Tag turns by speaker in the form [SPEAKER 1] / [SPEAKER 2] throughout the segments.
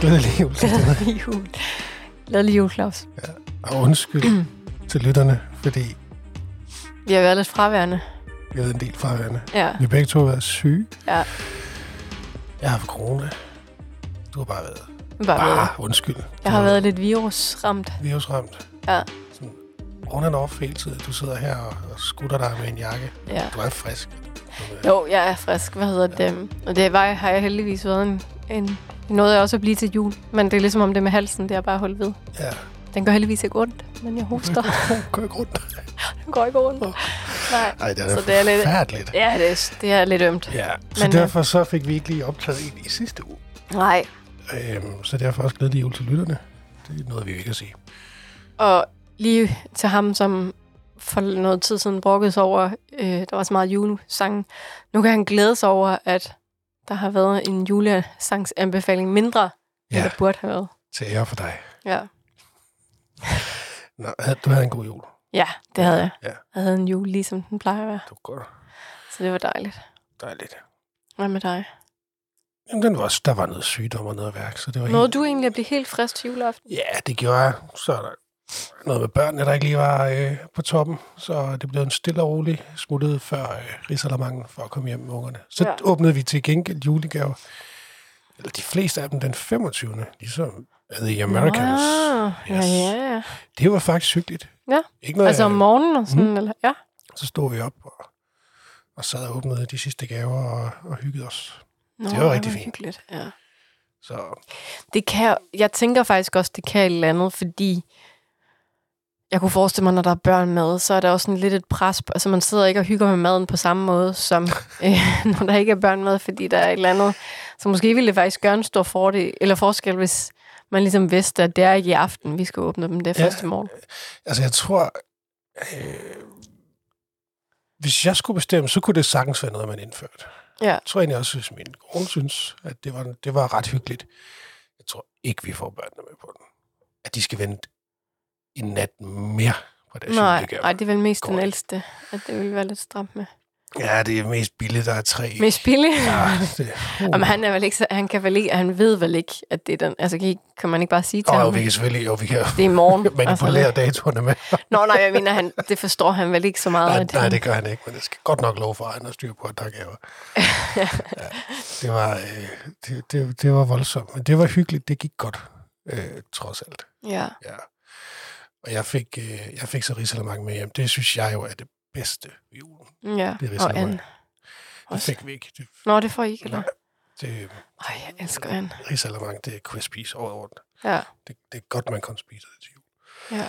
[SPEAKER 1] Glædelig jul. til dig.
[SPEAKER 2] Glædelig jul. Glædelig jul, Claus.
[SPEAKER 1] Og
[SPEAKER 2] Mm.
[SPEAKER 1] undskyld til lytterne, fordi
[SPEAKER 2] Vi har været lidt fraværende.
[SPEAKER 1] vi havde en del fraværende.
[SPEAKER 2] Ja,
[SPEAKER 1] Vi har begge to været syge.
[SPEAKER 2] ja.
[SPEAKER 1] Jeg har haft corona. Du har bare været...
[SPEAKER 2] Bare ved.
[SPEAKER 1] Bare undskyld.
[SPEAKER 2] Jeg
[SPEAKER 1] ah.
[SPEAKER 2] har været lidt virusramt.
[SPEAKER 1] virusramt.
[SPEAKER 2] Ja.
[SPEAKER 1] Sådan on and off hele tiden. Du sidder her og, og skutter dig med en jakke.
[SPEAKER 2] Ja.
[SPEAKER 1] Du er frisk.
[SPEAKER 2] Jo, jeg er frisk. Hvad hedder det? Øhm, Og det var, har jeg heldigvis været en, en noget jeg også at blive til jul. Men det er ligesom om det med halsen, det er bare hul ved.
[SPEAKER 1] Ja.
[SPEAKER 2] Den gør heldigvis ikke ondt, men jeg hoster.
[SPEAKER 1] Gå ikke rundt.
[SPEAKER 2] Den går ikke ondt. Nej.
[SPEAKER 1] Ej, det er
[SPEAKER 2] Så
[SPEAKER 1] da
[SPEAKER 2] det er lidt-
[SPEAKER 1] forfærdeligt.
[SPEAKER 2] Ja, det er, det er lidt ømt.
[SPEAKER 1] Ja. Så
[SPEAKER 2] Men,
[SPEAKER 1] Men,
[SPEAKER 2] øh,
[SPEAKER 1] derfor så fik vi ikke lige optaget i, i sidste uge.
[SPEAKER 2] Nej.
[SPEAKER 1] Øhm, så derfor også glædelig jul til lytterne. Det er noget, vi ikke at sige.
[SPEAKER 2] Og lige til ham, som for noget tid siden brokkede sig over, øh, der var så meget julesangen. Nu kan han glæde sig over, at der har været en julesangsanbefaling mindre, ja. end
[SPEAKER 1] Ja,
[SPEAKER 2] der burde have været.
[SPEAKER 1] til ære for dig.
[SPEAKER 2] Ja,
[SPEAKER 1] Nå, havde- du havde en god jul.
[SPEAKER 2] ja det havde jeg.
[SPEAKER 1] Ja.
[SPEAKER 2] Jeg havde en jul, ligesom den plejer at være.
[SPEAKER 1] Det var godt.
[SPEAKER 2] Så det var dejligt.
[SPEAKER 1] Dejligt.
[SPEAKER 2] Hvad med dig?
[SPEAKER 1] Jamen, den var, også- der var noget sygdom og noget værk, så det var
[SPEAKER 2] Nåede
[SPEAKER 1] helt...
[SPEAKER 2] du egentlig at blive helt frisk til juleaften?
[SPEAKER 1] Ja, det gjorde jeg. Så er der noget med børnene, der ikke lige var øh, på toppen, så det blev en stille og rolig smuttet før øh, risalamangen for at komme hjem med ungerne. Så
[SPEAKER 2] Ja.
[SPEAKER 1] ja. åbnede vi til gengæld julegaver. Eller de fleste af dem den 25. Ligesom The Americans.
[SPEAKER 2] Nå,
[SPEAKER 1] Yes.
[SPEAKER 2] Ah, Ja, ja, ja.
[SPEAKER 1] Det var faktisk hyggeligt.
[SPEAKER 2] Ja.
[SPEAKER 1] Ikke noget,
[SPEAKER 2] Altså om
[SPEAKER 1] jeg-
[SPEAKER 2] morgenen og sådan, mm. eller? Ja.
[SPEAKER 1] Så stod vi op og, og sad og åbnede de sidste gaver og, og hyggede os.
[SPEAKER 2] Nå,
[SPEAKER 1] var rigtig fint.
[SPEAKER 2] hyggeligt. Ja.
[SPEAKER 1] Så
[SPEAKER 2] Det kan, jeg tænker faktisk også, det kan et eller andet, fordi jeg kunne forestille mig, når der er børn med, så er der også sådan lidt et pres. på- Altså man sidder ikke og hygger med maden på samme måde, som øh, når der ikke er børn med, fordi der er et eller andet. Så måske ville det faktisk gøre en stor fordel, eller forskel, hvis man ligesom vidste, at det er ikke i aften, vi skal åbne dem, det er
[SPEAKER 1] Ja.
[SPEAKER 2] første morgen.
[SPEAKER 1] Altså, jeg tror... Øh, hvis jeg skulle bestemme, så kunne det sagtens være noget, man indførte.
[SPEAKER 2] Ja.
[SPEAKER 1] Jeg tror egentlig også, hvis min kone synes, at det var, det var ret hyggeligt. Jeg tror ikke, vi får børnene med på den. At de skal vente en nat mere på deres
[SPEAKER 2] Nej,
[SPEAKER 1] julegave.
[SPEAKER 2] nej, det er vel mest den
[SPEAKER 1] Går ikke.
[SPEAKER 2] ældste, at det ville være lidt stramt med.
[SPEAKER 1] Ja, det er mest billigt, der er tre.
[SPEAKER 2] Med spille?
[SPEAKER 1] Ja, det, uh.
[SPEAKER 2] Jamen, han, er vel ikke, så- han kan vel ikke, han ved vel ikke, at det er den. Altså, kan, I- kan man ikke bare sige til
[SPEAKER 1] Nå, jo,
[SPEAKER 2] ham,
[SPEAKER 1] vi kan selvfølgelig jo, vi kan
[SPEAKER 2] det er i morgen?
[SPEAKER 1] manipulere altså, datoerne med.
[SPEAKER 2] Nå, nej, jeg mener, han, det forstår han vel ikke så meget.
[SPEAKER 1] Nej,
[SPEAKER 2] at
[SPEAKER 1] nej,
[SPEAKER 2] han-
[SPEAKER 1] det gør han ikke, men det skal godt nok lov for, at han har styr på, at der er gaver. ja, det, var, øh, det, det, det var voldsomt, men det var hyggeligt. Det gik godt, øh, trods alt.
[SPEAKER 2] Ja,
[SPEAKER 1] Ja. Og jeg fik, øh, jeg fik så risalemang med hjem. Det synes jeg jo er det bedste ved julen.
[SPEAKER 2] ja.
[SPEAKER 1] Det er
[SPEAKER 2] og
[SPEAKER 1] risalemang.
[SPEAKER 2] Anne.
[SPEAKER 1] Det
[SPEAKER 2] Også.
[SPEAKER 1] fik vi ikke. Det,
[SPEAKER 2] Nå, det får I ikke, eller?
[SPEAKER 1] nej, det,
[SPEAKER 2] Ej, jeg elsker Anne.
[SPEAKER 1] risalemang, det kunne jeg spise over rundt.
[SPEAKER 2] Ja,
[SPEAKER 1] Det, det er godt, man kan spise det til jul.
[SPEAKER 2] Ja.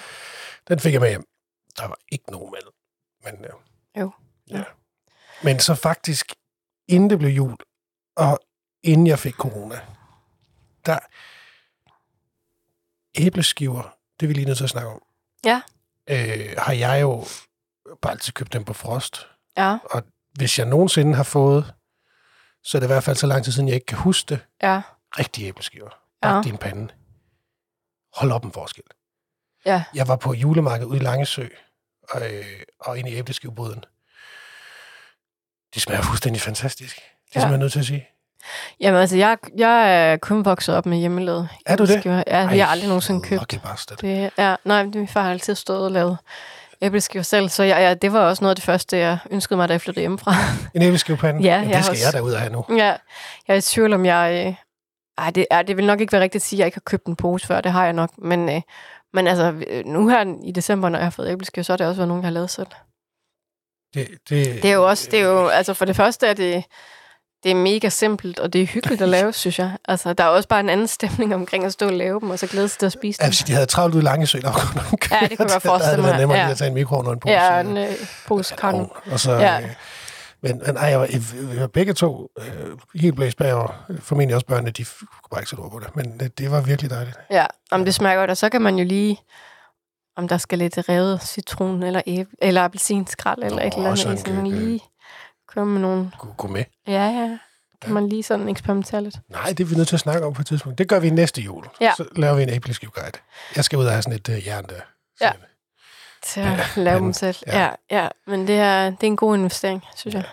[SPEAKER 1] Den fik jeg med hjem. Der var ikke nogen mad. Men, ja.
[SPEAKER 2] Jo,
[SPEAKER 1] Ja.
[SPEAKER 2] ja.
[SPEAKER 1] Men så faktisk, inden det blev jul, og inden jeg fik corona, der æbleskiver, det er vi lige nødt til at snakke om.
[SPEAKER 2] Ja.
[SPEAKER 1] Øh, har jeg jo bare altid købt dem på frost.
[SPEAKER 2] ja,
[SPEAKER 1] Hvis jeg nogensinde har fået, så er det i hvert fald så lang tid siden, jeg ikke kan huske det,
[SPEAKER 2] ja.
[SPEAKER 1] rigtige æbleskiver.
[SPEAKER 2] Ja.
[SPEAKER 1] Ja. Bagt i en pande. Hold op en forskel.
[SPEAKER 2] Ja.
[SPEAKER 1] Jeg var på julemarkedet ude i Langesø, og, øh, og ind i æbleskiveboden. Det smager fuldstændig fantastisk. Det er ja.
[SPEAKER 2] Ja.
[SPEAKER 1] simpelthen nødt til at sige.
[SPEAKER 2] Jamen, altså, jeg, jeg er kun vokset op med hjemmelavet.
[SPEAKER 1] Er du det?
[SPEAKER 2] æbleskiver. Ja, Ej, jeg har aldrig nogensinde købt.
[SPEAKER 1] Lucky bastard.
[SPEAKER 2] Det, ja, nej, men min far har altid stået og lavet æbleskiver selv, så jeg, ja, det var også noget af det første, jeg ønskede mig, da jeg flyttede hjemmefra.
[SPEAKER 1] En æbleskivepande?
[SPEAKER 2] Ja,
[SPEAKER 1] Jamen,
[SPEAKER 2] jeg
[SPEAKER 1] det skal
[SPEAKER 2] har
[SPEAKER 1] jeg
[SPEAKER 2] også-
[SPEAKER 1] derud og have nu.
[SPEAKER 2] ja, jeg er i tvivl om, jeg... Øh, ej, det, er, det vil nok ikke være rigtigt at sige, at jeg ikke har købt en pose før, det har jeg nok, men... Øh, men altså, øh, nu her i december, når jeg har fået æbleskiver, så har det også været nogen, jeg har lavet selv.
[SPEAKER 1] Det, det,
[SPEAKER 2] Det er jo også, det er jo, altså for det første er det, det er mega simpelt, og det er hyggeligt at lave, synes jeg. Altså, der er også bare en anden stemning omkring at stå og lave dem, og så glæde sig til at spise
[SPEAKER 1] Ja,
[SPEAKER 2] dem.
[SPEAKER 1] Altså, hvis de havde travlt ude i Langesø, der var godt nok
[SPEAKER 2] Ja, det kunne jeg godt
[SPEAKER 1] Der havde
[SPEAKER 2] forestille
[SPEAKER 1] det
[SPEAKER 2] mig,
[SPEAKER 1] været nemmere
[SPEAKER 2] ja.
[SPEAKER 1] lige at tage en mikroovn og en pose.
[SPEAKER 2] Ja,
[SPEAKER 1] øh,
[SPEAKER 2] en øh, pose karton.
[SPEAKER 1] ovn. Og så,
[SPEAKER 2] Ja.
[SPEAKER 1] ja. øh, men, men ej, jeg var, vi- vi var begge to øh, helt blæst bagover. Formentlig også børnene, de f- kunne bare ikke sætte ord på det. Men øh, det, det var virkelig dejligt.
[SPEAKER 2] Ja, om det smager godt, og så kan man jo lige, om der skal lidt revet citron eller, æble, eller appelsinskrald eller
[SPEAKER 1] Nå,
[SPEAKER 2] Nå, et eller andet,
[SPEAKER 1] sådan øh,
[SPEAKER 2] i, så man
[SPEAKER 1] kan-
[SPEAKER 2] lige kører med nogle,
[SPEAKER 1] Kunne gå med.
[SPEAKER 2] ja, ja, kan
[SPEAKER 1] Ja.
[SPEAKER 2] man lige sådan eksperimentere lidt.
[SPEAKER 1] Nej, det er vi nødt til at snakke om på et tidspunkt. Det gør vi næste jul.
[SPEAKER 2] Ja.
[SPEAKER 1] Så laver vi en æbleskivguide. Jeg skal ud og have sådan et øh, jern der.
[SPEAKER 2] Ja.
[SPEAKER 1] Sådan-
[SPEAKER 2] Til at lave dem
[SPEAKER 1] men-
[SPEAKER 2] selv.
[SPEAKER 1] ja.
[SPEAKER 2] Ja, ja, men det er, det er en god investering, synes jeg.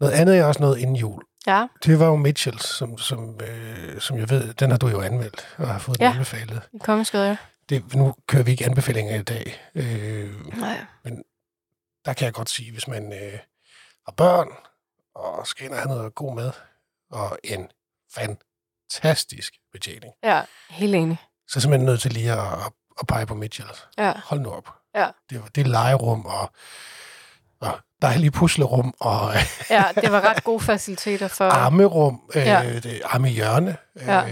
[SPEAKER 1] Noget andet er også noget inden jul.
[SPEAKER 2] Ja.
[SPEAKER 1] Det var jo Mitchells, som, som, øh, som jeg ved, den har du jo anmeldt og har fået ja.
[SPEAKER 2] Ja.
[SPEAKER 1] den anbefalet.
[SPEAKER 2] I Kongeskød, ja.
[SPEAKER 1] Det, nu kører vi ikke anbefalinger i dag. Øh,
[SPEAKER 2] Nej.
[SPEAKER 1] der kan jeg godt sige, hvis man øh, har børn og skal ind og have noget god mad og en fantastisk betjening,
[SPEAKER 2] Ja, helt enig.
[SPEAKER 1] så er jeg simpelthen nødt til lige at, at, at pege på Mitchells.
[SPEAKER 2] Ja.
[SPEAKER 1] Hold nu op.
[SPEAKER 2] Ja.
[SPEAKER 1] Det, var- det er legerum og, og dejlige puslerum og øh,
[SPEAKER 2] ja, det var ret gode faciliteter for...
[SPEAKER 1] armerum, øh,
[SPEAKER 2] Ja.
[SPEAKER 1] det, armehjørne. Øh,
[SPEAKER 2] Ja.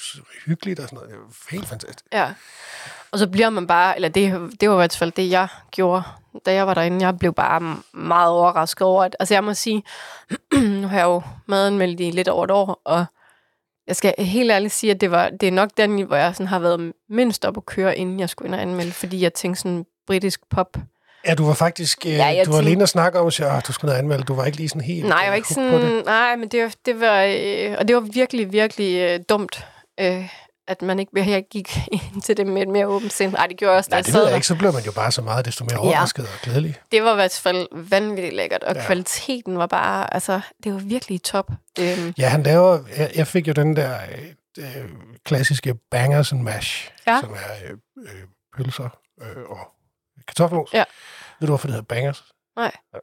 [SPEAKER 1] s- hyggeligt og sådan noget. Det var Helt fantastisk.
[SPEAKER 2] Ja. Og så bliver man bare, eller det, det var i hvert fald det, jeg gjorde, da jeg var derinde. Jeg blev bare m- meget overrasket over, at, altså jeg må sige, nu har jeg jo madanmeldt i lidt over et år, og jeg skal helt ærligt sige, at det, var, det er nok den, hvor jeg sådan har været mindst op at køre, inden jeg skulle ind og anmelde, fordi jeg tænkte sådan britisk pop.
[SPEAKER 1] Ja, du var faktisk... Øh, ja, du
[SPEAKER 2] Ja,
[SPEAKER 1] var
[SPEAKER 2] jeg tænkte-
[SPEAKER 1] alene og snakke om, at jeg, "Ah, du skulle ned og anmelde. Du var ikke lige sådan helt...
[SPEAKER 2] Nej, jeg
[SPEAKER 1] øh,
[SPEAKER 2] var ikke
[SPEAKER 1] hooked på det.
[SPEAKER 2] sådan, nej, men det, var- det var, øh, og det var virkelig, virkelig øh, dumt, øh, at man ikke, jeg gik ind til det med et mere åbent sind. Nej, det gjorde jeg også, da
[SPEAKER 1] Nej,
[SPEAKER 2] jeg
[SPEAKER 1] det
[SPEAKER 2] sad
[SPEAKER 1] ved jeg
[SPEAKER 2] der.
[SPEAKER 1] ikke. Så bliver man jo bare så meget, desto mere overrasket og glædelig.
[SPEAKER 2] Det var i hvert fald vanvittigt lækkert, og
[SPEAKER 1] Ja.
[SPEAKER 2] ja. kvaliteten var bare, altså, det var virkelig top. Øhm,
[SPEAKER 1] Ja, han laver... Jeg, jeg fik jo den der øh, øh, klassiske bangers and mash,
[SPEAKER 2] Ja.
[SPEAKER 1] som er øh, øh, pølser øh, og kartoffelmos.
[SPEAKER 2] Ja.
[SPEAKER 1] Ved du, hvorfor det hedder bangers?
[SPEAKER 2] Nej.
[SPEAKER 1] Ja.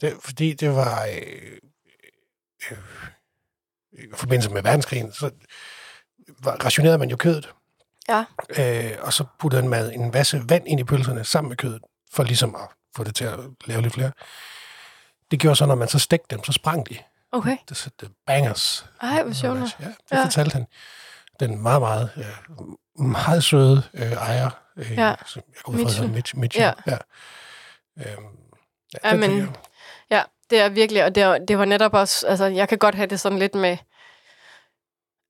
[SPEAKER 1] Det, fordi det var... Øh, øh, I forbindelse med verdenskrigen, så var, rationerede man jo kødet.
[SPEAKER 2] Ja.
[SPEAKER 1] Øh, og så puttede man mad, en masse vand ind i pølserne sammen med kødet, for ligesom at få det til at lave lidt flere. Det gjorde så, når man så stegte dem, så sprang de.
[SPEAKER 2] okay.
[SPEAKER 1] Det, så det bangers.
[SPEAKER 2] Ej, hvor sjovt.
[SPEAKER 1] Ja, det ja.
[SPEAKER 2] Ja.
[SPEAKER 1] fortalte han. Den meget, meget, øh, meget søde øh, ejer, øh, ja.
[SPEAKER 2] Ja.
[SPEAKER 1] som jeg går ud fra,
[SPEAKER 2] Mitchell.
[SPEAKER 1] hedder Mitch, Mitchell.
[SPEAKER 2] Ja.
[SPEAKER 1] ja. Øhm, ja,
[SPEAKER 2] Ja,
[SPEAKER 1] den fik
[SPEAKER 2] men-
[SPEAKER 1] jeg.
[SPEAKER 2] Ja, det er virkelig, og det, var- det var netop også, altså, jeg kan godt have det sådan lidt med,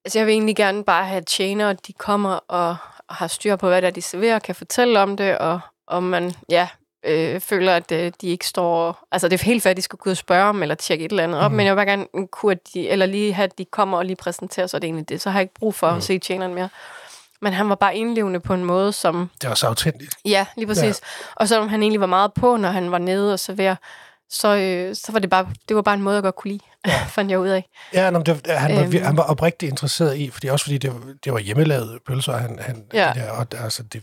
[SPEAKER 2] altså, jeg vil egentlig gerne bare have tjenere, de kommer og har styr på, hvad der de serverer, kan fortælle om det, og om man, ja, øh, føler, at øh, de ikke står... Altså, det er helt fair, at de skulle kunne spørge om, eller tjekke et eller andet op,
[SPEAKER 1] Mm.
[SPEAKER 2] men jeg vil bare gerne kunne, at de, eller lige have, at de kommer og lige præsenterer sig, og det er egentlig det. Så har jeg ikke brug for
[SPEAKER 1] Mm.
[SPEAKER 2] at se tjeneren mere. Men han var bare indlevende på en måde, som...
[SPEAKER 1] det var så autentisk.
[SPEAKER 2] Ja, lige præcis. Ja. Og selvom han egentlig var meget på, når han var nede og serverer, så, øh, så var det bare, det var bare en måde, jeg godt kunne lide, ja. fandt jeg ud af.
[SPEAKER 1] Ja, nå, men det, han, var, vir-
[SPEAKER 2] Øhm.
[SPEAKER 1] han var oprigtigt interesseret i, fordi også fordi det, var- det var hjemmelavede pølser, han, han
[SPEAKER 2] Ja.
[SPEAKER 1] det der, og der, altså, det,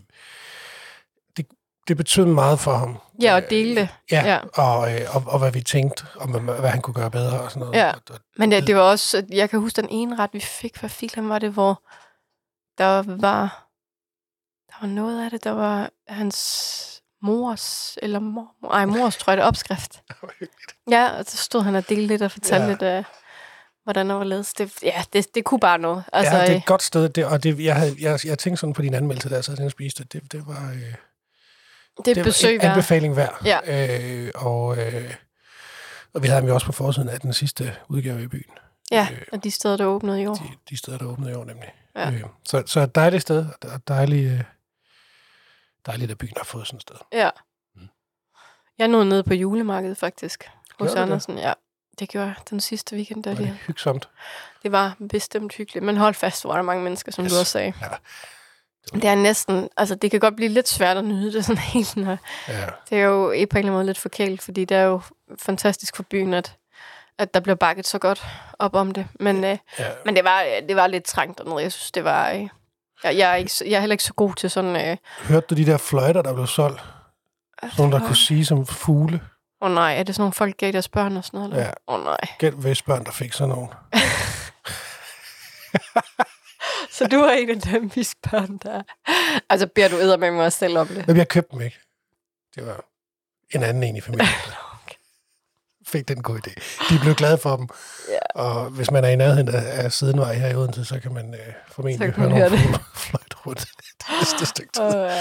[SPEAKER 1] det, det betød meget for ham.
[SPEAKER 2] Ja, og
[SPEAKER 1] Øh,
[SPEAKER 2] dele det.
[SPEAKER 1] Ja, ja.
[SPEAKER 2] Ja.
[SPEAKER 1] Og, øh, og, og, hvad vi tænkte, og hvad, hvad han kunne gøre bedre og sådan noget.
[SPEAKER 2] Ja.
[SPEAKER 1] Og, og,
[SPEAKER 2] Men det, det var også, at jeg kan huske den ene ret, vi fik, hvad filen var det, hvor der var, der var noget af det, der var hans mors, eller mor, ej, mors, tror jeg, det er opskrift. Ja, og så stod han og delte lidt og fortalte
[SPEAKER 1] Ja.
[SPEAKER 2] ja. lidt, øh, hvordan der var ledes. Det, ja, det, det kunne bare noget. Altså,
[SPEAKER 1] Altså, ja, det er
[SPEAKER 2] øh,
[SPEAKER 1] et godt sted, det, og det, jeg, havde, jeg, jeg tænkte sådan på din anmeldelse, der jeg sad og spiste, det, det, det var, øh, det
[SPEAKER 2] det,
[SPEAKER 1] var
[SPEAKER 2] det besøg
[SPEAKER 1] en
[SPEAKER 2] var.
[SPEAKER 1] anbefaling værd.
[SPEAKER 2] Ja.
[SPEAKER 1] Øh, og, øh, og vi havde dem jo også på forsiden af den sidste udgave i byen,
[SPEAKER 2] Ja,
[SPEAKER 1] øh,
[SPEAKER 2] og de steder, der åbnede i år.
[SPEAKER 1] de, de steder, der åbnede i år nemlig.
[SPEAKER 2] Ja.
[SPEAKER 1] Øh, så, så et dejligt sted, og der- dejlig, øh, dejligt, at byen har fået sådan et sted.
[SPEAKER 2] Ja.
[SPEAKER 1] Mm.
[SPEAKER 2] Jeg nåede ned på julemarkedet faktisk. Hos
[SPEAKER 1] Gjorde du det?
[SPEAKER 2] Andersen, ja. Det gjorde jeg den sidste weekend, der
[SPEAKER 1] Det var
[SPEAKER 2] lige.
[SPEAKER 1] det hyggesomt.
[SPEAKER 2] Det var bestemt hyggeligt, men hold fast, hvor var der mange mennesker, som yes.
[SPEAKER 1] Yes.
[SPEAKER 2] du også sagde.
[SPEAKER 1] Ja.
[SPEAKER 2] Det er næsten, altså det kan godt blive lidt svært at nyde det sådan helt, når
[SPEAKER 1] Ja.
[SPEAKER 2] det er jo på en eller anden måde lidt forkælet, fordi det er jo fantastisk for byen, at, at der bliver bakket så godt op om det. Men, øh,
[SPEAKER 1] ja.
[SPEAKER 2] men det, var, øh, det var lidt trængt dernede. Jeg synes, det var... Øh, jeg, jeg, er ikke, så- jeg er heller ikke så god til sådan... Øh,
[SPEAKER 1] Hørte du de der fløjter, der blev solgt? Sådan nogle, der kunne sige som fugle.
[SPEAKER 2] Åh oh, nej, er det sådan nogle folk gav deres børn og sådan noget? eller?
[SPEAKER 1] Ja.
[SPEAKER 2] Åh oh, nej.
[SPEAKER 1] Gæld Vestbørn, der fik sådan nogle.
[SPEAKER 2] Så du er en af dem, vi spørger der. Altså, beder du æder med mig også selv om det?
[SPEAKER 1] Men jeg købte dem ikke. Det var en anden en i familien. der Fik den gode idé. De blev glade for dem.
[SPEAKER 2] Ja.
[SPEAKER 1] Og hvis man er i nærheden af, af sidenvej her i Odense, så kan man øh, formentlig
[SPEAKER 2] Så kan
[SPEAKER 1] høre
[SPEAKER 2] man
[SPEAKER 1] nogle
[SPEAKER 2] høre
[SPEAKER 1] fugler fløjte rundt. det næste stykke tid.
[SPEAKER 2] Og, ja.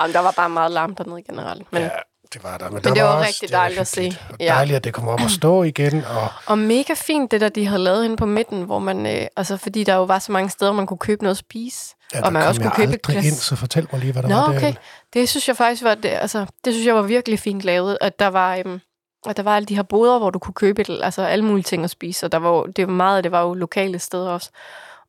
[SPEAKER 2] Jamen, der var bare meget larm dernede generelt. Men, ja.
[SPEAKER 1] ja, det var der. Men,
[SPEAKER 2] det
[SPEAKER 1] der
[SPEAKER 2] var
[SPEAKER 1] også-
[SPEAKER 2] rigtig
[SPEAKER 1] det var
[SPEAKER 2] dejligt at se.
[SPEAKER 1] hyggeligt. Og
[SPEAKER 2] Ja.
[SPEAKER 1] dejligt, at det kom op og stå igen. Og,
[SPEAKER 2] Og mega fint det der, de havde lavet inde på midten, hvor man... Øh, altså, fordi der jo var så mange steder, man kunne købe noget at spise.
[SPEAKER 1] ja,
[SPEAKER 2] Og
[SPEAKER 1] der
[SPEAKER 2] man også
[SPEAKER 1] kom
[SPEAKER 2] kunne
[SPEAKER 1] jeg
[SPEAKER 2] købe et
[SPEAKER 1] aldrig
[SPEAKER 2] glas.
[SPEAKER 1] ind, så fortæl mig lige, hvad der
[SPEAKER 2] Nå,
[SPEAKER 1] var
[SPEAKER 2] okay.
[SPEAKER 1] derinde.
[SPEAKER 2] Det synes jeg faktisk var... Det, altså, det synes jeg var virkelig fint lavet, at der var... Øhm, og der var alle de her boder, hvor du kunne købe et, altså alle mulige ting at spise, og der var, jo- det var meget af det var jo lokale steder også.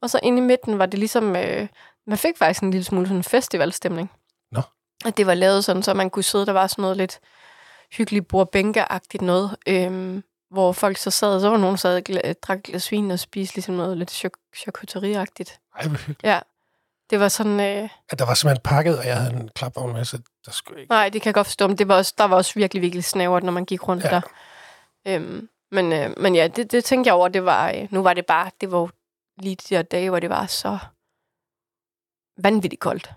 [SPEAKER 2] Og så inde i midten var det ligesom, øh, man fik faktisk en lille smule sådan en festivalstemning.
[SPEAKER 1] Nå.
[SPEAKER 2] At det var lavet sådan, så man kunne sidde, der var sådan noget lidt hyggeligt bordbænkeagtigt noget, øhm, hvor folk så sad, og så var nogen, der sad og gla- drak et glas vin og spiste ligesom noget lidt chok- charcuterieagtigt.
[SPEAKER 1] Ej, hvor hyggeligt.
[SPEAKER 2] Ja, det var sådan... Øh,
[SPEAKER 1] At der var simpelthen pakket, og jeg havde en klapvogn med, så der skulle ikke...
[SPEAKER 2] nej, det kan jeg godt forstå, men det var også, der var også virkelig, virkelig snævert, når man gik rundt
[SPEAKER 1] Ja.
[SPEAKER 2] ja. der. Øhm, men, øh, men ja, det, det tænkte jeg over, det var... Øh, nu var det bare... Det var jo lige de der dage, hvor det var så vanvittigt koldt.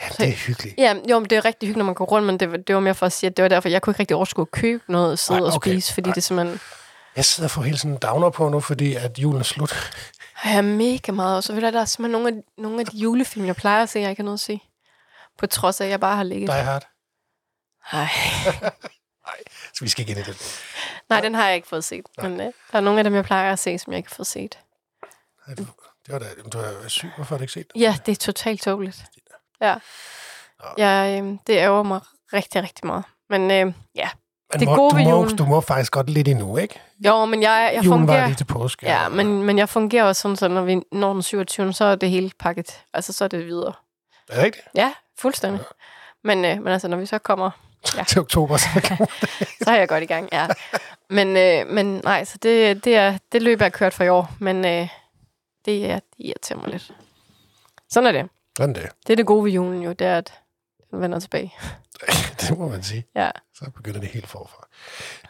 [SPEAKER 1] Ja, det er hyggeligt.
[SPEAKER 2] Ja, jo, men det er rigtig hyggeligt, når man går rundt, men det, var- det var mere for at sige, at det var derfor, jeg kunne ikke rigtig overskue at købe noget og sidde
[SPEAKER 1] Nej,
[SPEAKER 2] og
[SPEAKER 1] okay.
[SPEAKER 2] spise, fordi
[SPEAKER 1] Nej.
[SPEAKER 2] Nej. det simpelthen
[SPEAKER 1] Jeg sidder og får hele sådan en downer på nu, fordi at julen er slut.
[SPEAKER 2] har jeg mega meget. Og så ved jeg, der er simpelthen nogle af, nogle af de julefilm, jeg plejer at se, jeg ikke har noget at se. På trods af, at jeg bare har ligget.
[SPEAKER 1] Die hard.
[SPEAKER 2] Nej.
[SPEAKER 1] Så vi skal ikke ind i det.
[SPEAKER 2] Nej, den har jeg ikke fået set. Men øh, der er nogle af dem, jeg plejer at se, som jeg ikke har fået set.
[SPEAKER 1] Ej, du- Det var da... Jamen, du er syg. Hvorfor har du ikke set det?
[SPEAKER 2] Ja, det er totalt tåbeligt. Ja.
[SPEAKER 1] Nå.
[SPEAKER 2] Jeg, øh, det ærger mig rigtig, rigtig meget. Men øh, ja,
[SPEAKER 1] Men
[SPEAKER 2] det
[SPEAKER 1] må-
[SPEAKER 2] gode
[SPEAKER 1] du
[SPEAKER 2] ved
[SPEAKER 1] må,
[SPEAKER 2] julen-
[SPEAKER 1] Du må faktisk godt lidt endnu, ikke?
[SPEAKER 2] jo, men jeg, jeg
[SPEAKER 1] julen
[SPEAKER 2] fungerer...
[SPEAKER 1] var lige til påske.
[SPEAKER 2] Ja,
[SPEAKER 1] og-
[SPEAKER 2] men, men jeg fungerer også sådan, så når vi når den 27. så er det hele pakket. Altså, så er det videre.
[SPEAKER 1] Er det rigtigt?
[SPEAKER 2] Ja, fuldstændig. Men, øh, men altså, når vi så kommer,
[SPEAKER 1] Ja.
[SPEAKER 2] Ja.
[SPEAKER 1] Til oktober, så kan man-
[SPEAKER 2] så er jeg godt i gang, ja. Men, øh, men nej, så det, det, er, det løb er kørt for i år, men øh, det, er, det irriterer mig lidt. Sådan er det.
[SPEAKER 1] Sådan det.
[SPEAKER 2] Det er det gode ved julen jo, det er, at den vender tilbage.
[SPEAKER 1] Det må man sige.
[SPEAKER 2] Ja.
[SPEAKER 1] Så begynder det helt forfra.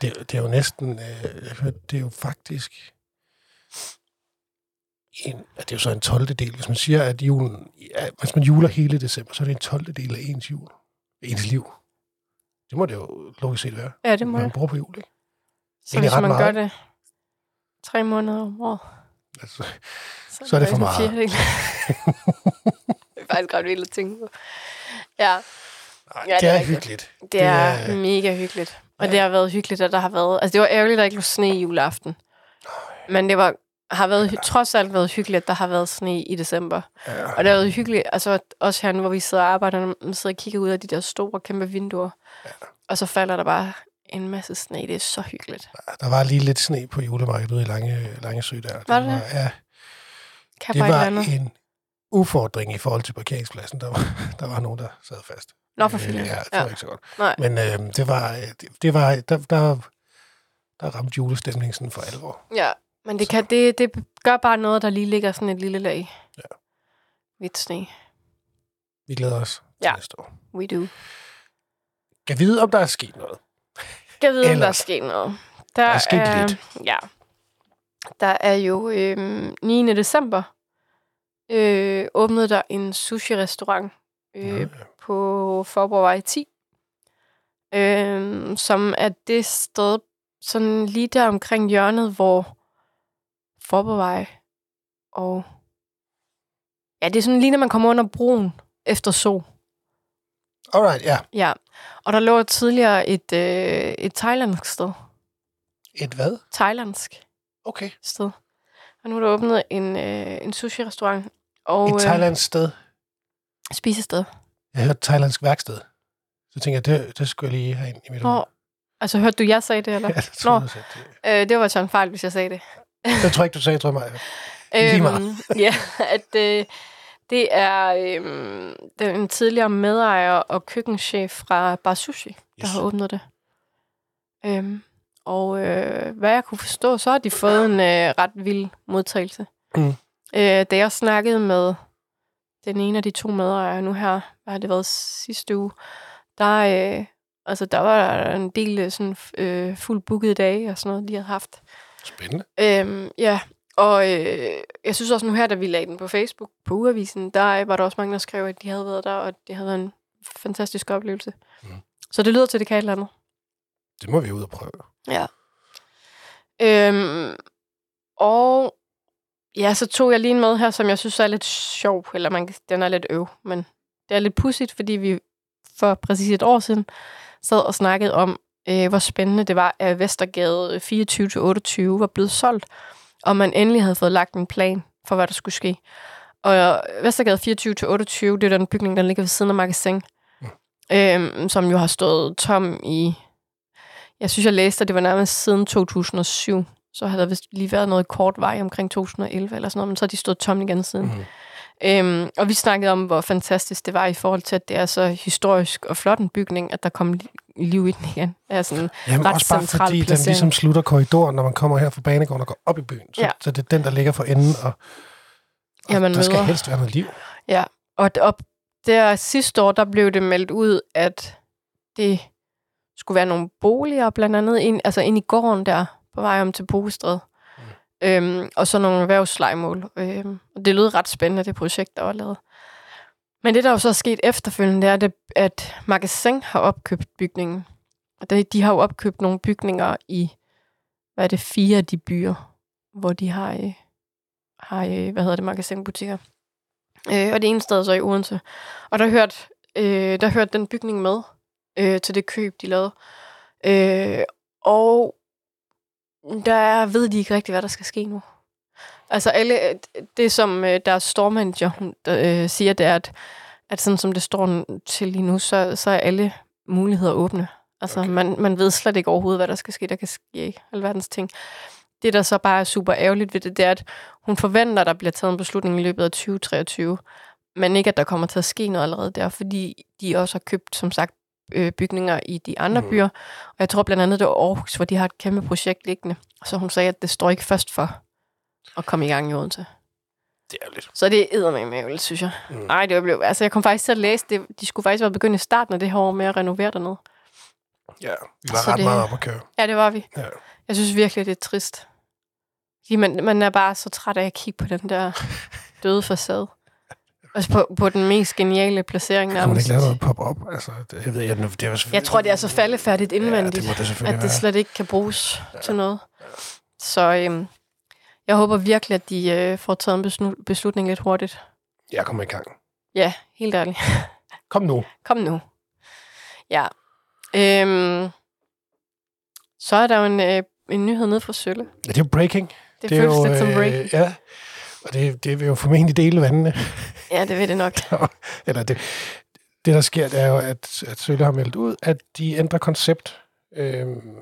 [SPEAKER 1] Det, det er jo næsten... Øh, jeg hørte, det er jo faktisk... En, at det er jo så en 12. del. Hvis man siger, at julen... Ja, hvis man juler hele december, så er det en 12. del af ens jul. Ens liv. Det må det jo logisk set være.
[SPEAKER 2] Ja, det må
[SPEAKER 1] Man
[SPEAKER 2] jeg.
[SPEAKER 1] bruger på jul, ikke?
[SPEAKER 2] Så
[SPEAKER 1] egentlig
[SPEAKER 2] hvis
[SPEAKER 1] ret
[SPEAKER 2] man gør
[SPEAKER 1] meget.
[SPEAKER 2] det tre måneder om året,
[SPEAKER 1] Altså,
[SPEAKER 2] Så,
[SPEAKER 1] Så er det for
[SPEAKER 2] faktisk en
[SPEAKER 1] meget.
[SPEAKER 2] fjerdedel. det er faktisk ret vildt at tænke på. Ja,
[SPEAKER 1] nej,
[SPEAKER 2] Ja,
[SPEAKER 1] ja, det,
[SPEAKER 2] det er
[SPEAKER 1] er
[SPEAKER 2] rigtigt.
[SPEAKER 1] hyggeligt.
[SPEAKER 2] det, det er, mega hyggeligt. Og
[SPEAKER 1] Ja.
[SPEAKER 2] det har været hyggeligt, at der har været... Altså, det var ærgerligt, at der ikke var sne i juleaften. Men det var, har været, hy- trods alt været hyggeligt, at der har været sne i december.
[SPEAKER 1] Ja,
[SPEAKER 2] Og det har været hyggeligt, altså at- også herinde, hvor vi sidder og arbejder, når man sidder og kigger ud af de der store, kæmpe vinduer. Og så falder der bare en masse sne. Det er så hyggeligt.
[SPEAKER 1] der var lige lidt sne på julemarkedet ude i Lange, Lange Sø der.
[SPEAKER 2] Var det
[SPEAKER 1] Var, ja,
[SPEAKER 2] Kan
[SPEAKER 1] det
[SPEAKER 2] jeg bare et eller
[SPEAKER 1] var
[SPEAKER 2] andet?
[SPEAKER 1] en udfordring i forhold til parkeringspladsen. Der var, der var nogen, der sad fast.
[SPEAKER 2] Nå, for
[SPEAKER 1] Øh,
[SPEAKER 2] filan.
[SPEAKER 1] Ja, det var
[SPEAKER 2] Ja.
[SPEAKER 1] ikke så godt.
[SPEAKER 2] Nej.
[SPEAKER 1] Men øh, det var, øh, det, det var der, der, der ramte julestemningen sådan for alvor.
[SPEAKER 2] Ja, men det, kan, det, det gør bare noget, der lige ligger sådan et lille lag.
[SPEAKER 1] Ja.
[SPEAKER 2] Hvidt sne.
[SPEAKER 1] Vi glæder os til
[SPEAKER 2] Ja.
[SPEAKER 1] næste år.
[SPEAKER 2] We do.
[SPEAKER 1] Kan vide, om der er sket noget.
[SPEAKER 2] Kan vide, om der er
[SPEAKER 1] Ellers.
[SPEAKER 2] sket noget.
[SPEAKER 1] Der er sket
[SPEAKER 2] er,
[SPEAKER 1] lidt.
[SPEAKER 2] Ja. Der er jo øhm, 9. december øh, åbnede der en sushi-restaurant øh,
[SPEAKER 1] Nå, ja.
[SPEAKER 2] på Forborgvej 10, øh, som er det sted, sådan lige der omkring hjørnet, hvor Forborgvej og... Ja, det er sådan lige, når man kommer under broen efter sol.
[SPEAKER 1] Alright, ja.
[SPEAKER 2] Ja, og der lå tidligere et, øh, et thailandsk sted.
[SPEAKER 1] Et hvad?
[SPEAKER 2] Thailandsk
[SPEAKER 1] Okay.
[SPEAKER 2] sted. Og nu er der åbnet en, øh, en sushi-restaurant og
[SPEAKER 1] Et thailandsk sted.
[SPEAKER 2] øh, spisested.
[SPEAKER 1] Jeg hørte thailandsk værksted. Så tænker jeg, det, det skulle jeg lige have ind i mit
[SPEAKER 2] Nå,
[SPEAKER 1] hoved.
[SPEAKER 2] altså hørte du, jeg sagde det, eller?
[SPEAKER 1] Ja, det tror
[SPEAKER 2] Nå.
[SPEAKER 1] jeg, også, at det-
[SPEAKER 2] øh, det var sådan en fejl, hvis jeg sagde det.
[SPEAKER 1] det tror jeg ikke, du sagde, tror jeg mig. Lige meget.
[SPEAKER 2] Øhm, ja, at øh, det er øh, den en tidligere medejer og køkkenchef fra Bar Sushi, der
[SPEAKER 1] Yes.
[SPEAKER 2] har åbnet det. Øhm, og øh, hvad jeg kunne forstå, så har de fået en øh, ret vild modtagelse.
[SPEAKER 1] Mm.
[SPEAKER 2] Øh, da jeg snakkede med den ene af de to medejere nu her, hvad har det været sidste uge, der, øh, altså, der var der en del øh, sådan, øh, fuldt bookede dage og sådan noget, de havde haft.
[SPEAKER 1] Spændende.
[SPEAKER 2] Øhm, ja, og øh, jeg synes også nu her, da vi lagde den på Facebook på Ugeavisen, der øh, var der også mange, der skrev, at de havde været der, og det havde været en fantastisk oplevelse.
[SPEAKER 1] Mm.
[SPEAKER 2] Mm. Så det lyder til, at det kan et eller andet.
[SPEAKER 1] Det må vi ud og prøve.
[SPEAKER 2] Ja. Øhm, og ja, så tog jeg lige en med her, som jeg synes er lidt sjov, eller man, kan- den er lidt øv, men det er lidt pudsigt, fordi vi for præcis et år siden sad og snakkede om, øh, hvor spændende det var, at Vestergade 24-28 var blevet solgt, og man endelig havde fået lagt en plan for, hvad der skulle ske. Og Vestergade 24-28, det er den bygning, der ligger ved siden af Magasin, øhm, som jo har stået tom i jeg synes, jeg læste, at det var nærmest siden 2007. Så havde der vist lige været noget kort vej omkring 2011 eller sådan noget, men så har de stået tomme igen siden.
[SPEAKER 1] Mhm.
[SPEAKER 2] Mm. Øhm, og vi snakkede om, hvor fantastisk det var i forhold til, at det er så historisk og flot en bygning, at der kom liv i den igen. Er sådan,
[SPEAKER 1] Jamen
[SPEAKER 2] ret
[SPEAKER 1] også bare
[SPEAKER 2] central
[SPEAKER 1] fordi den
[SPEAKER 2] placering.
[SPEAKER 1] ligesom slutter korridoren, når man kommer her fra banegården og går op i byen. Så,
[SPEAKER 2] Ja.
[SPEAKER 1] ja. så det er den, der ligger for enden, og, og
[SPEAKER 2] Ja,
[SPEAKER 1] ja,
[SPEAKER 2] man
[SPEAKER 1] der skal
[SPEAKER 2] møder-
[SPEAKER 1] helst være noget liv.
[SPEAKER 2] og, og der sidste år, der blev det meldt ud, at det skulle være nogle boliger, blandt andet ind, altså ind i gården der, på vej om til Bostred. Mm. Øhm, og så nogle erhvervslejemål. Øhm, og det lød ret spændende, det projekt, der var lavet. Men det, der jo så er sket efterfølgende, det er, det, at Magasin har opkøbt bygningen. Og det- De har jo opkøbt nogle bygninger i, hvad er det, fire af de byer, hvor de har, øh, har øh, hvad hedder det, magasinbutikker. Øh, og det ene sted er så i Odense. Og der hørte, øh, der hørte den bygning med øh, til det køb, de lavede. Øh, og der ved de ikke rigtig, hvad der skal ske nu. Altså alle, øh, det som øh, deres stormanager hun, der, øh, siger, det er, at, at sådan som det står n- til lige nu, så, så er alle muligheder åbne. Altså okay.
[SPEAKER 1] Okay.
[SPEAKER 2] man, man ved slet ikke overhovedet, hvad der skal ske. Der kan ske alverdens ting. Det, der så bare er super ærgerligt ved det, det er, at hun forventer, at der bliver taget en beslutning i løbet af 2023, men ikke, at der kommer til at ske noget allerede der, fordi de også har købt, som sagt, øh, bygninger i de andre mm.
[SPEAKER 1] Mhm.
[SPEAKER 2] byer. Og jeg tror blandt andet, det var Aarhus, hvor de har et kæmpe projekt liggende. Så hun sagde, at det står ikke først for at komme i gang i Odense.
[SPEAKER 1] Det er lidt.
[SPEAKER 2] Så det er med ærgerligt, synes jeg.
[SPEAKER 1] Mm.
[SPEAKER 2] Nej, det blev... Altså, jeg kom faktisk til at læse det. De skulle faktisk være begyndt i starten af det her år med at renovere dernede.
[SPEAKER 1] Ja, vi var
[SPEAKER 2] Så
[SPEAKER 1] ret
[SPEAKER 2] det-
[SPEAKER 1] meget op at køre.
[SPEAKER 2] Ja, det var vi.
[SPEAKER 1] Ja.
[SPEAKER 2] Jeg synes virkelig, det er trist. Fordi man, man er bare så træt af at kigge på den der døde facade. Altså på, på den mest geniale placering
[SPEAKER 1] Kunne man
[SPEAKER 2] nærmest.
[SPEAKER 1] ikke lave noget pop-up? Altså, det, jeg ved, jeg, det er jo selvfølgelig...
[SPEAKER 2] Jeg tror, det er så faldefærdigt indvendigt.
[SPEAKER 1] Ja, det må det
[SPEAKER 2] at
[SPEAKER 1] selvfølgelig
[SPEAKER 2] det
[SPEAKER 1] være.
[SPEAKER 2] slet ikke kan bruges ja. til noget. Så øhm, jeg håber virkelig, at de øh, får taget en besnu- beslutning lidt hurtigt.
[SPEAKER 1] Jeg kommer i gang.
[SPEAKER 2] Ja, helt ærligt.
[SPEAKER 1] Kom nu.
[SPEAKER 2] Kom nu. Ja. Øhm, så er der jo en, øh, en nyhed nede fra Sølle. Det,
[SPEAKER 1] Ja, det er jo breaking.
[SPEAKER 2] det føles
[SPEAKER 1] jo,
[SPEAKER 2] lidt som
[SPEAKER 1] øh,
[SPEAKER 2] break.
[SPEAKER 1] Ja, og det, det vil jo formentlig dele vandene.
[SPEAKER 2] Ja, det ved det nok.
[SPEAKER 1] Eller det, det, der sker, det er jo, at, at Sølle har meldt ud, at de ændrer koncept øhm,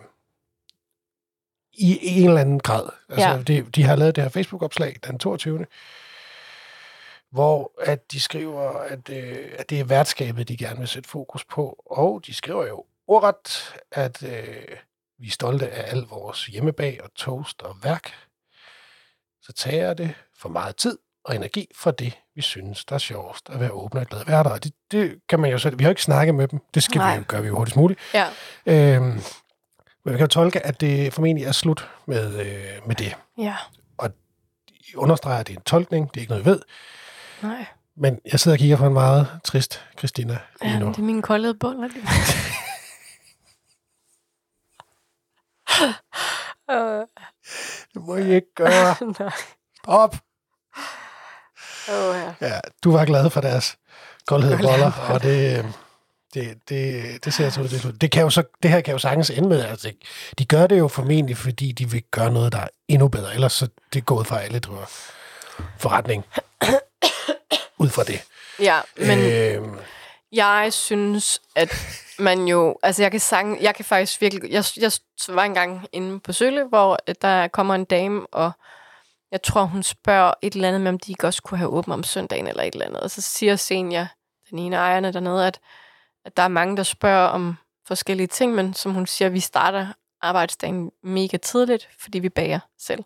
[SPEAKER 1] i en eller anden grad. Altså,
[SPEAKER 2] Ja.
[SPEAKER 1] ja. de, de har lavet det her Facebook-opslag den 22. Hvor at de skriver, at, øh, at det er værtskabet, de gerne vil sætte fokus på. Og de skriver jo ordret, at øh, vi er stolte af al vores hjemmebag og toast og værk. Så tager det for meget tid og energi fra det, vi synes, der er sjovest at være åbne og glade værter. Og det, det kan man jo selv. Vi har jo ikke snakket med dem. Det skal
[SPEAKER 2] Nej.
[SPEAKER 1] vi jo gøre vi jo hurtigst muligt.
[SPEAKER 2] Ja.
[SPEAKER 1] Øhm, men vi kan jo tolke, at det formentlig er slut med, øh, med det.
[SPEAKER 2] Ja,
[SPEAKER 1] De understreger, at det er en tolkning. Det er ikke noget, jeg ved.
[SPEAKER 2] nej.
[SPEAKER 1] Men jeg sidder og kigger på en meget trist Christina lige
[SPEAKER 2] Ja,
[SPEAKER 1] nu.
[SPEAKER 2] det er min koldede bund. alligevel. Øh,
[SPEAKER 1] Det må I ikke gøre.
[SPEAKER 2] nej.
[SPEAKER 1] Op!
[SPEAKER 2] Åh, ja.
[SPEAKER 1] Ja, du var glad for deres koldhed og
[SPEAKER 2] Koldhed.
[SPEAKER 1] boller, og det, øh, det, det, det ser så ud. Det, er slut. det, kan jo så, det her kan jo sagtens ende med, altså, de gør det jo formentlig, fordi de vil gøre noget, der er endnu bedre. Ellers så det er gået fra alle driver forretning ud fra det.
[SPEAKER 2] ja, men...
[SPEAKER 1] Øhm,
[SPEAKER 2] Jeg synes, at man jo... Altså, jeg kan, sang, jeg kan faktisk virkelig... Jeg, jeg var engang inde på Sølle, hvor øh, der kommer en dame, og jeg tror, hun spørger et eller andet med, om de ikke også kunne have åbent om søndagen eller et eller andet. Og så siger Senior, den ene af ejerne dernede, at, at der er mange, der spørger om forskellige ting, men som hun siger, vi starter arbejdsdagen mega tidligt, fordi vi bager selv.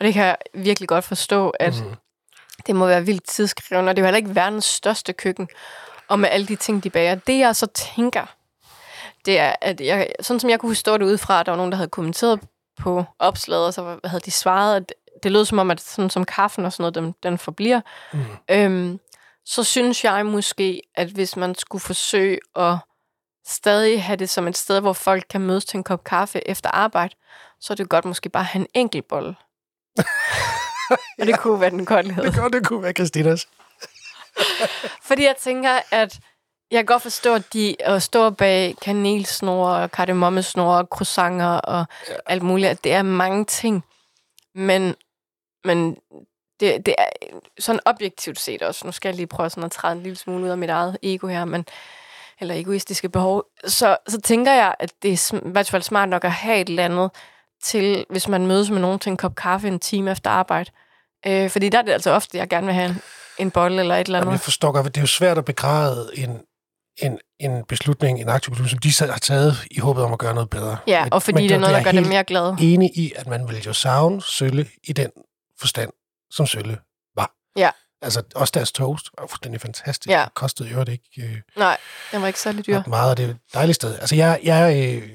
[SPEAKER 2] Og det kan jeg virkelig godt forstå, at mm.
[SPEAKER 1] mm,
[SPEAKER 2] Det må være vildt tidskrævende, og det er jo heller ikke verdens største køkken. Og med alle de ting, de bager. Det jeg så tænker, det er, at jeg, sådan som jeg kunne forstå det udefra, at der var nogen, der havde kommenteret på opslaget, og så havde de svaret, at det lød som om, at sådan som kaffen og sådan noget, den, den forbliver.
[SPEAKER 1] Mm.
[SPEAKER 2] Øhm, så synes jeg måske, at hvis man skulle forsøge at stadig have det som et sted, hvor folk kan mødes til en kop kaffe efter arbejde, så er det godt måske bare at have en enkelt bolle. og det kunne være den koldhed.
[SPEAKER 1] det, godt, det kunne være Christinas.
[SPEAKER 2] Fordi jeg tænker, at jeg kan godt forstå, at de at stå bag kanelsnore og kardemommesnore og croissanter og ja. alt muligt, at det er mange ting. Men, men det, det er sådan objektivt set også. Nu skal jeg lige prøve sådan at træde en lille smule ud af mit eget ego her, men eller egoistiske behov, så, så tænker jeg, at det er sm- i hvert fald smart nok at have et eller andet til, hvis man mødes med nogen til en kop kaffe en time efter arbejde. Øh, fordi der er det altså ofte, jeg gerne vil have en, en bolle eller et eller andet.
[SPEAKER 1] Jamen, jeg forstår godt, det er jo svært at begræde en, en, en beslutning, en aktiv beslutning, som de selv har taget i håbet om at gøre noget bedre.
[SPEAKER 2] Ja,
[SPEAKER 1] Men-
[SPEAKER 2] og fordi
[SPEAKER 1] men
[SPEAKER 2] det er noget,
[SPEAKER 1] jeg
[SPEAKER 2] der gør
[SPEAKER 1] helt
[SPEAKER 2] dem mere glade.
[SPEAKER 1] enig i, at man ville jo savne Sølle i den forstand, som Sølle var.
[SPEAKER 2] Ja.
[SPEAKER 1] Altså også deres toast var fuldstændig fantastisk.
[SPEAKER 2] Ja.
[SPEAKER 1] Det kostede jo ikke øh,
[SPEAKER 2] Nej, den var ikke særlig dyr.
[SPEAKER 1] ret meget, og det er et dejligt sted. Altså jeg, jeg, øh,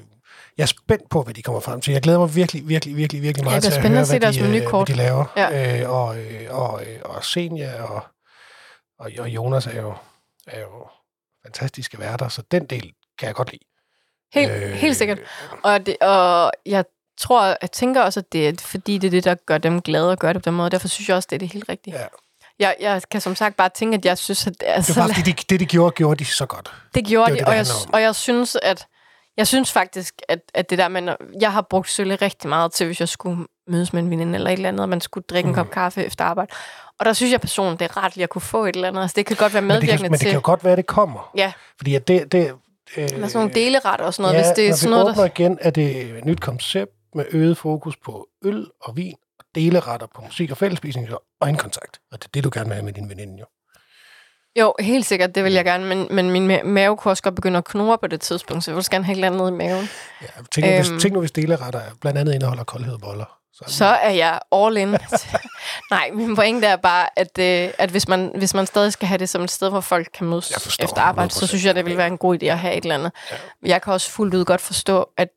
[SPEAKER 1] jeg er spændt på, hvad de kommer frem til. Jeg glæder mig virkelig, virkelig, virkelig, virkelig meget
[SPEAKER 2] det er
[SPEAKER 1] til at
[SPEAKER 2] spændende
[SPEAKER 1] høre,
[SPEAKER 2] at se
[SPEAKER 1] hvad,
[SPEAKER 2] deres
[SPEAKER 1] de, øh, hvad
[SPEAKER 2] menukort.
[SPEAKER 1] de laver. Ja. Øh, og, øh, og, øh, og Senja og, og, og Jonas er jo, er jo fantastiske værter, så den del kan jeg godt lide.
[SPEAKER 2] Helt, øh, helt sikkert. Og, det, og jeg tror, jeg tænker også, at det er fordi, det er det, der gør dem glade og gør det på den måde. Derfor synes jeg også, det er det helt rigtige.
[SPEAKER 1] Ja.
[SPEAKER 2] Jeg, jeg kan som sagt bare tænke, at jeg synes, at det,
[SPEAKER 1] Det
[SPEAKER 2] altså,
[SPEAKER 1] var bare, fordi de, det, de gjorde, gjorde de så godt.
[SPEAKER 2] det gjorde
[SPEAKER 1] det,
[SPEAKER 2] det,
[SPEAKER 1] det
[SPEAKER 2] og, jeg,
[SPEAKER 1] handler om.
[SPEAKER 2] og jeg synes, at jeg synes faktisk, at, at det der med, når- jeg har brugt sølle rigtig meget til, hvis jeg skulle mødes med en veninde eller et eller andet, og man skulle drikke mm. en kop kaffe efter arbejde. Og der synes jeg personligt, det er rart lige at kunne få et eller andet. Altså, det kan godt være
[SPEAKER 1] Men det,
[SPEAKER 2] medvirkende
[SPEAKER 1] kan, men det
[SPEAKER 2] til.
[SPEAKER 1] kan jo godt være, at det kommer.
[SPEAKER 2] Ja,
[SPEAKER 1] Fordi at det... det øh,
[SPEAKER 2] med sådan nogle deleret og sådan noget, ja, hvis det er
[SPEAKER 1] når
[SPEAKER 2] sådan
[SPEAKER 1] vi
[SPEAKER 2] noget,
[SPEAKER 1] åbner
[SPEAKER 2] der...
[SPEAKER 1] igen, er det et nyt koncept med øget fokus på øl og vin og deleretter på musik og fællesspisning og øjenkontakt. Og det er det, du gerne vil have med din veninde, jo.
[SPEAKER 2] Jo, helt sikkert, det vil jeg gerne, men, men min ma- mave kunne også godt begynde at knurre på det tidspunkt, så jeg vil også gerne have et eller andet ned i maven.
[SPEAKER 1] Ja, tænk, nu,
[SPEAKER 2] Øhm.
[SPEAKER 1] hvis, tænk nu, hvis deleretter blandt andet indeholder koldhed og boller.
[SPEAKER 2] Så er jeg all in. Nej, min pointe er bare, at, øh, at hvis, man, hvis man stadig skal have det som et sted, hvor folk kan mødes
[SPEAKER 1] Jeg forstår
[SPEAKER 2] efter arbejde, så
[SPEAKER 1] 100%.
[SPEAKER 2] synes jeg, det ville være en god idé at have et eller andet. Ja. Jeg kan også fuldt ud godt forstå, at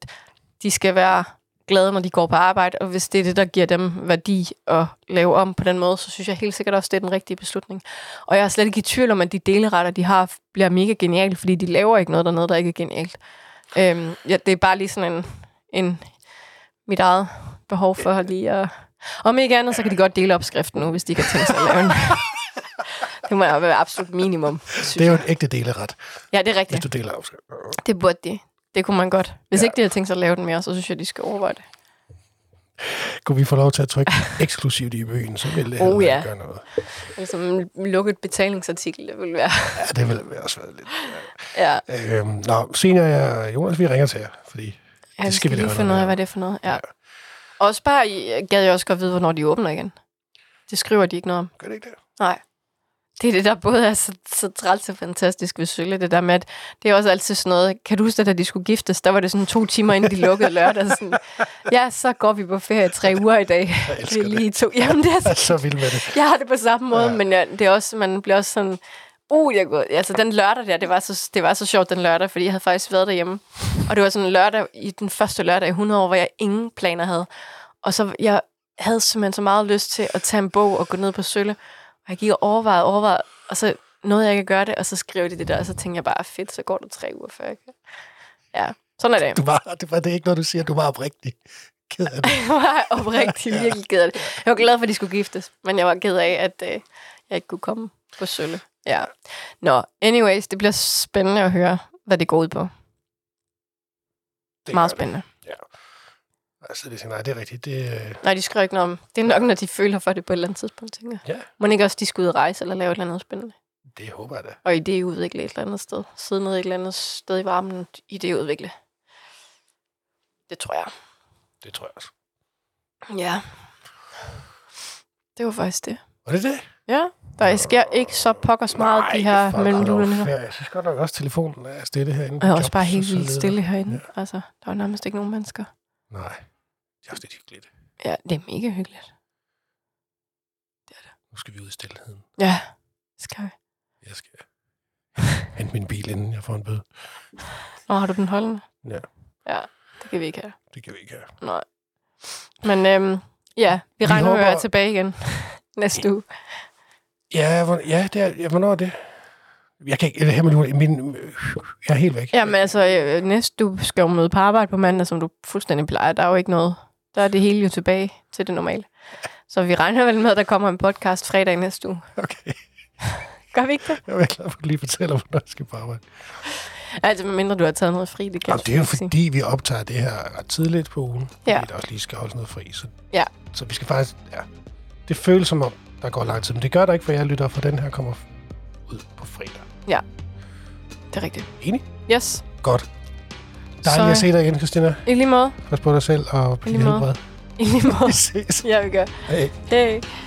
[SPEAKER 2] de skal være glade, når de går på arbejde, og hvis det er det, der giver dem værdi at lave om på den måde, så synes jeg helt sikkert også, det er den rigtige beslutning. Og jeg er slet ikke i tvivl om, at de deleretter, de har, bliver mega genialt, fordi de laver ikke noget dernede, der ikke er genialt. Øhm, ja, det er bare lige sådan en, en mit eget behov for lige at... Om ikke andet, så kan de godt dele opskriften nu, hvis de kan tænke sig at lave en. det må være absolut minimum, synes
[SPEAKER 1] det er
[SPEAKER 2] det
[SPEAKER 1] jo en ægte deleret,
[SPEAKER 2] Ja, det er
[SPEAKER 1] hvis
[SPEAKER 2] rigtigt.
[SPEAKER 1] du deler af.
[SPEAKER 2] Det burde de. Det kunne man godt. Hvis ja. ikke de har tænkt sig at lave den mere, så synes jeg, de skal overveje det.
[SPEAKER 1] Kunne vi få lov til at trykke eksklusivt i byen, så ville det
[SPEAKER 2] Oh,
[SPEAKER 1] heller ikke
[SPEAKER 2] ja.
[SPEAKER 1] gøre noget.
[SPEAKER 2] Ligesom en lukket betalingsartikel, det ville være.
[SPEAKER 1] Ja, det ville også være lidt.
[SPEAKER 2] Ja,
[SPEAKER 1] Øhm, nå, senior og Jonas, vi ringer til jer, fordi
[SPEAKER 2] ja
[SPEAKER 1] skal
[SPEAKER 2] vi skal
[SPEAKER 1] vi
[SPEAKER 2] lige
[SPEAKER 1] lave
[SPEAKER 2] finde ud
[SPEAKER 1] noget
[SPEAKER 2] af,
[SPEAKER 1] af.
[SPEAKER 2] hvad det er for noget. Ja. Også bare, jeg gad jeg også godt vide, hvornår de åbner igen. Det skriver de ikke noget om.
[SPEAKER 1] gør det ikke det?
[SPEAKER 2] Nej. Det er det, der både er så, så træls og fantastisk ved Sølle, det der med, at det er også altid sådan noget, kan du huske, at da de skulle giftes, der var det sådan to timer, inden de lukkede lørdag, sådan, ja, så går vi på ferie i tre uger i dag.
[SPEAKER 1] Jeg
[SPEAKER 2] Vi er
[SPEAKER 1] elsker det.
[SPEAKER 2] lige to. Jamen, det er,
[SPEAKER 1] Jeg er
[SPEAKER 2] så-
[SPEAKER 1] så vild med det.
[SPEAKER 2] jeg har det på samme måde,
[SPEAKER 1] Ja.
[SPEAKER 2] ja. men jeg, det er også, man bliver også sådan, uh, jeg går, altså den lørdag der, det var, så, det var så sjovt den lørdag, fordi jeg havde faktisk været derhjemme. Og det var sådan en lørdag, i den første lørdag i 100 år, hvor jeg ingen planer havde. Og så jeg havde simpelthen så meget lyst til at tage en bog og gå ned på Sølle. Og jeg gik og overvejede, overvejede, og så nåede jeg ikke at gøre det, og så skrev de det der, og så tænkte jeg bare, fedt, så går det tre uger før jeg kan. Ja, sådan er det.
[SPEAKER 1] Du var, det var det er ikke, når du siger, at du var oprigtig. Ked af det.
[SPEAKER 2] Jeg var oprigtigt virkelig ked af det. Jeg var glad for, at de skulle giftes, men jeg var ked af, at øh, jeg ikke kunne komme på Sølle. Ja. Nå, anyways, det bliver spændende at høre, hvad det går ud på.
[SPEAKER 1] det
[SPEAKER 2] Meget
[SPEAKER 1] gør det.
[SPEAKER 2] spændende.
[SPEAKER 1] Altså, det, nej, det er rigtigt. Det, øh,
[SPEAKER 2] Nej, de skriver ikke noget om. Det er nok, når de føler for det på et eller andet tidspunkt, tænker jeg.
[SPEAKER 1] Ja.
[SPEAKER 2] Må ikke også, de skal ud og rejse eller lave et eller andet spændende?
[SPEAKER 1] det håber jeg da.
[SPEAKER 2] Og idéudvikle et eller andet sted. Sidde nede et eller andet sted i varmen, idéudvikle. Det tror jeg.
[SPEAKER 1] Det tror jeg også.
[SPEAKER 2] Ja. Det var faktisk det.
[SPEAKER 1] Var det det?
[SPEAKER 2] Ja, der sker ikke så pokkers meget, de her mellemlulerne her.
[SPEAKER 1] her. Jeg synes godt nok også, telefonen er stille herinde. på
[SPEAKER 2] Og jeg er også
[SPEAKER 1] job,
[SPEAKER 2] bare
[SPEAKER 1] så-
[SPEAKER 2] helt
[SPEAKER 1] så
[SPEAKER 2] vildt
[SPEAKER 1] leder-
[SPEAKER 2] stille herinde. Ja. Altså, der er jo nærmest ikke nogen mennesker.
[SPEAKER 1] Nej, det er også lidt hyggeligt.
[SPEAKER 2] Ja, det er mega hyggeligt.
[SPEAKER 1] Nu skal vi ud i stillheden.
[SPEAKER 2] Ja, skal vi.
[SPEAKER 1] Jeg skal hente min bil, inden jeg får en bøde.
[SPEAKER 2] Nå, har du den holdende?
[SPEAKER 1] Ja.
[SPEAKER 2] Ja, det kan vi ikke have.
[SPEAKER 1] Det kan vi ikke have.
[SPEAKER 2] Nej. Men øhm, ja,
[SPEAKER 1] Vi
[SPEAKER 2] vi, regner med at være
[SPEAKER 1] håber-
[SPEAKER 2] tilbage igen næste uge.
[SPEAKER 1] Ja, hvor, ja, det er, ja, hvornår er det? Jeg kan ikke, det her med nu- min, jeg er helt væk.
[SPEAKER 2] Ja, men altså, øh, næste du skal jo møde på arbejde på mandag, som du fuldstændig plejer. Der er jo ikke noget. Der er det hele jo tilbage til det normale. Så vi regner vel med, at der kommer en podcast fredag næste uge.
[SPEAKER 1] Okay,
[SPEAKER 2] Gør vi ikke det?
[SPEAKER 1] jeg er glad for, at du lige fortæller, hvornår jeg skal på arbejde.
[SPEAKER 2] Altså, medmindre du har taget noget fri, det kan
[SPEAKER 1] Jamen,
[SPEAKER 2] jeg
[SPEAKER 1] det er jo
[SPEAKER 2] ikke sige.
[SPEAKER 1] fordi, vi optager det her ret tidligt på ugen.
[SPEAKER 2] Ja.
[SPEAKER 1] Fordi der også lige skal holde noget fri. Så,
[SPEAKER 2] Ja.
[SPEAKER 1] så vi skal faktisk... Ja, det føles som om, der går lang tid. Men det gør der ikke, for jeg lytter, for den her kommer ud på fredag.
[SPEAKER 2] Det er rigtigt.
[SPEAKER 1] Enig?
[SPEAKER 2] Yes,
[SPEAKER 1] Godt.
[SPEAKER 2] Så-
[SPEAKER 1] Dejligt at se dig igen, Christina.
[SPEAKER 2] i lige måde.
[SPEAKER 1] Pas på dig selv og på
[SPEAKER 2] I
[SPEAKER 1] dit
[SPEAKER 2] lige måde.
[SPEAKER 1] helbred.
[SPEAKER 2] I lige måde.
[SPEAKER 1] Vi ses.
[SPEAKER 2] Ja, vi gør.
[SPEAKER 1] Hej.
[SPEAKER 2] Hej.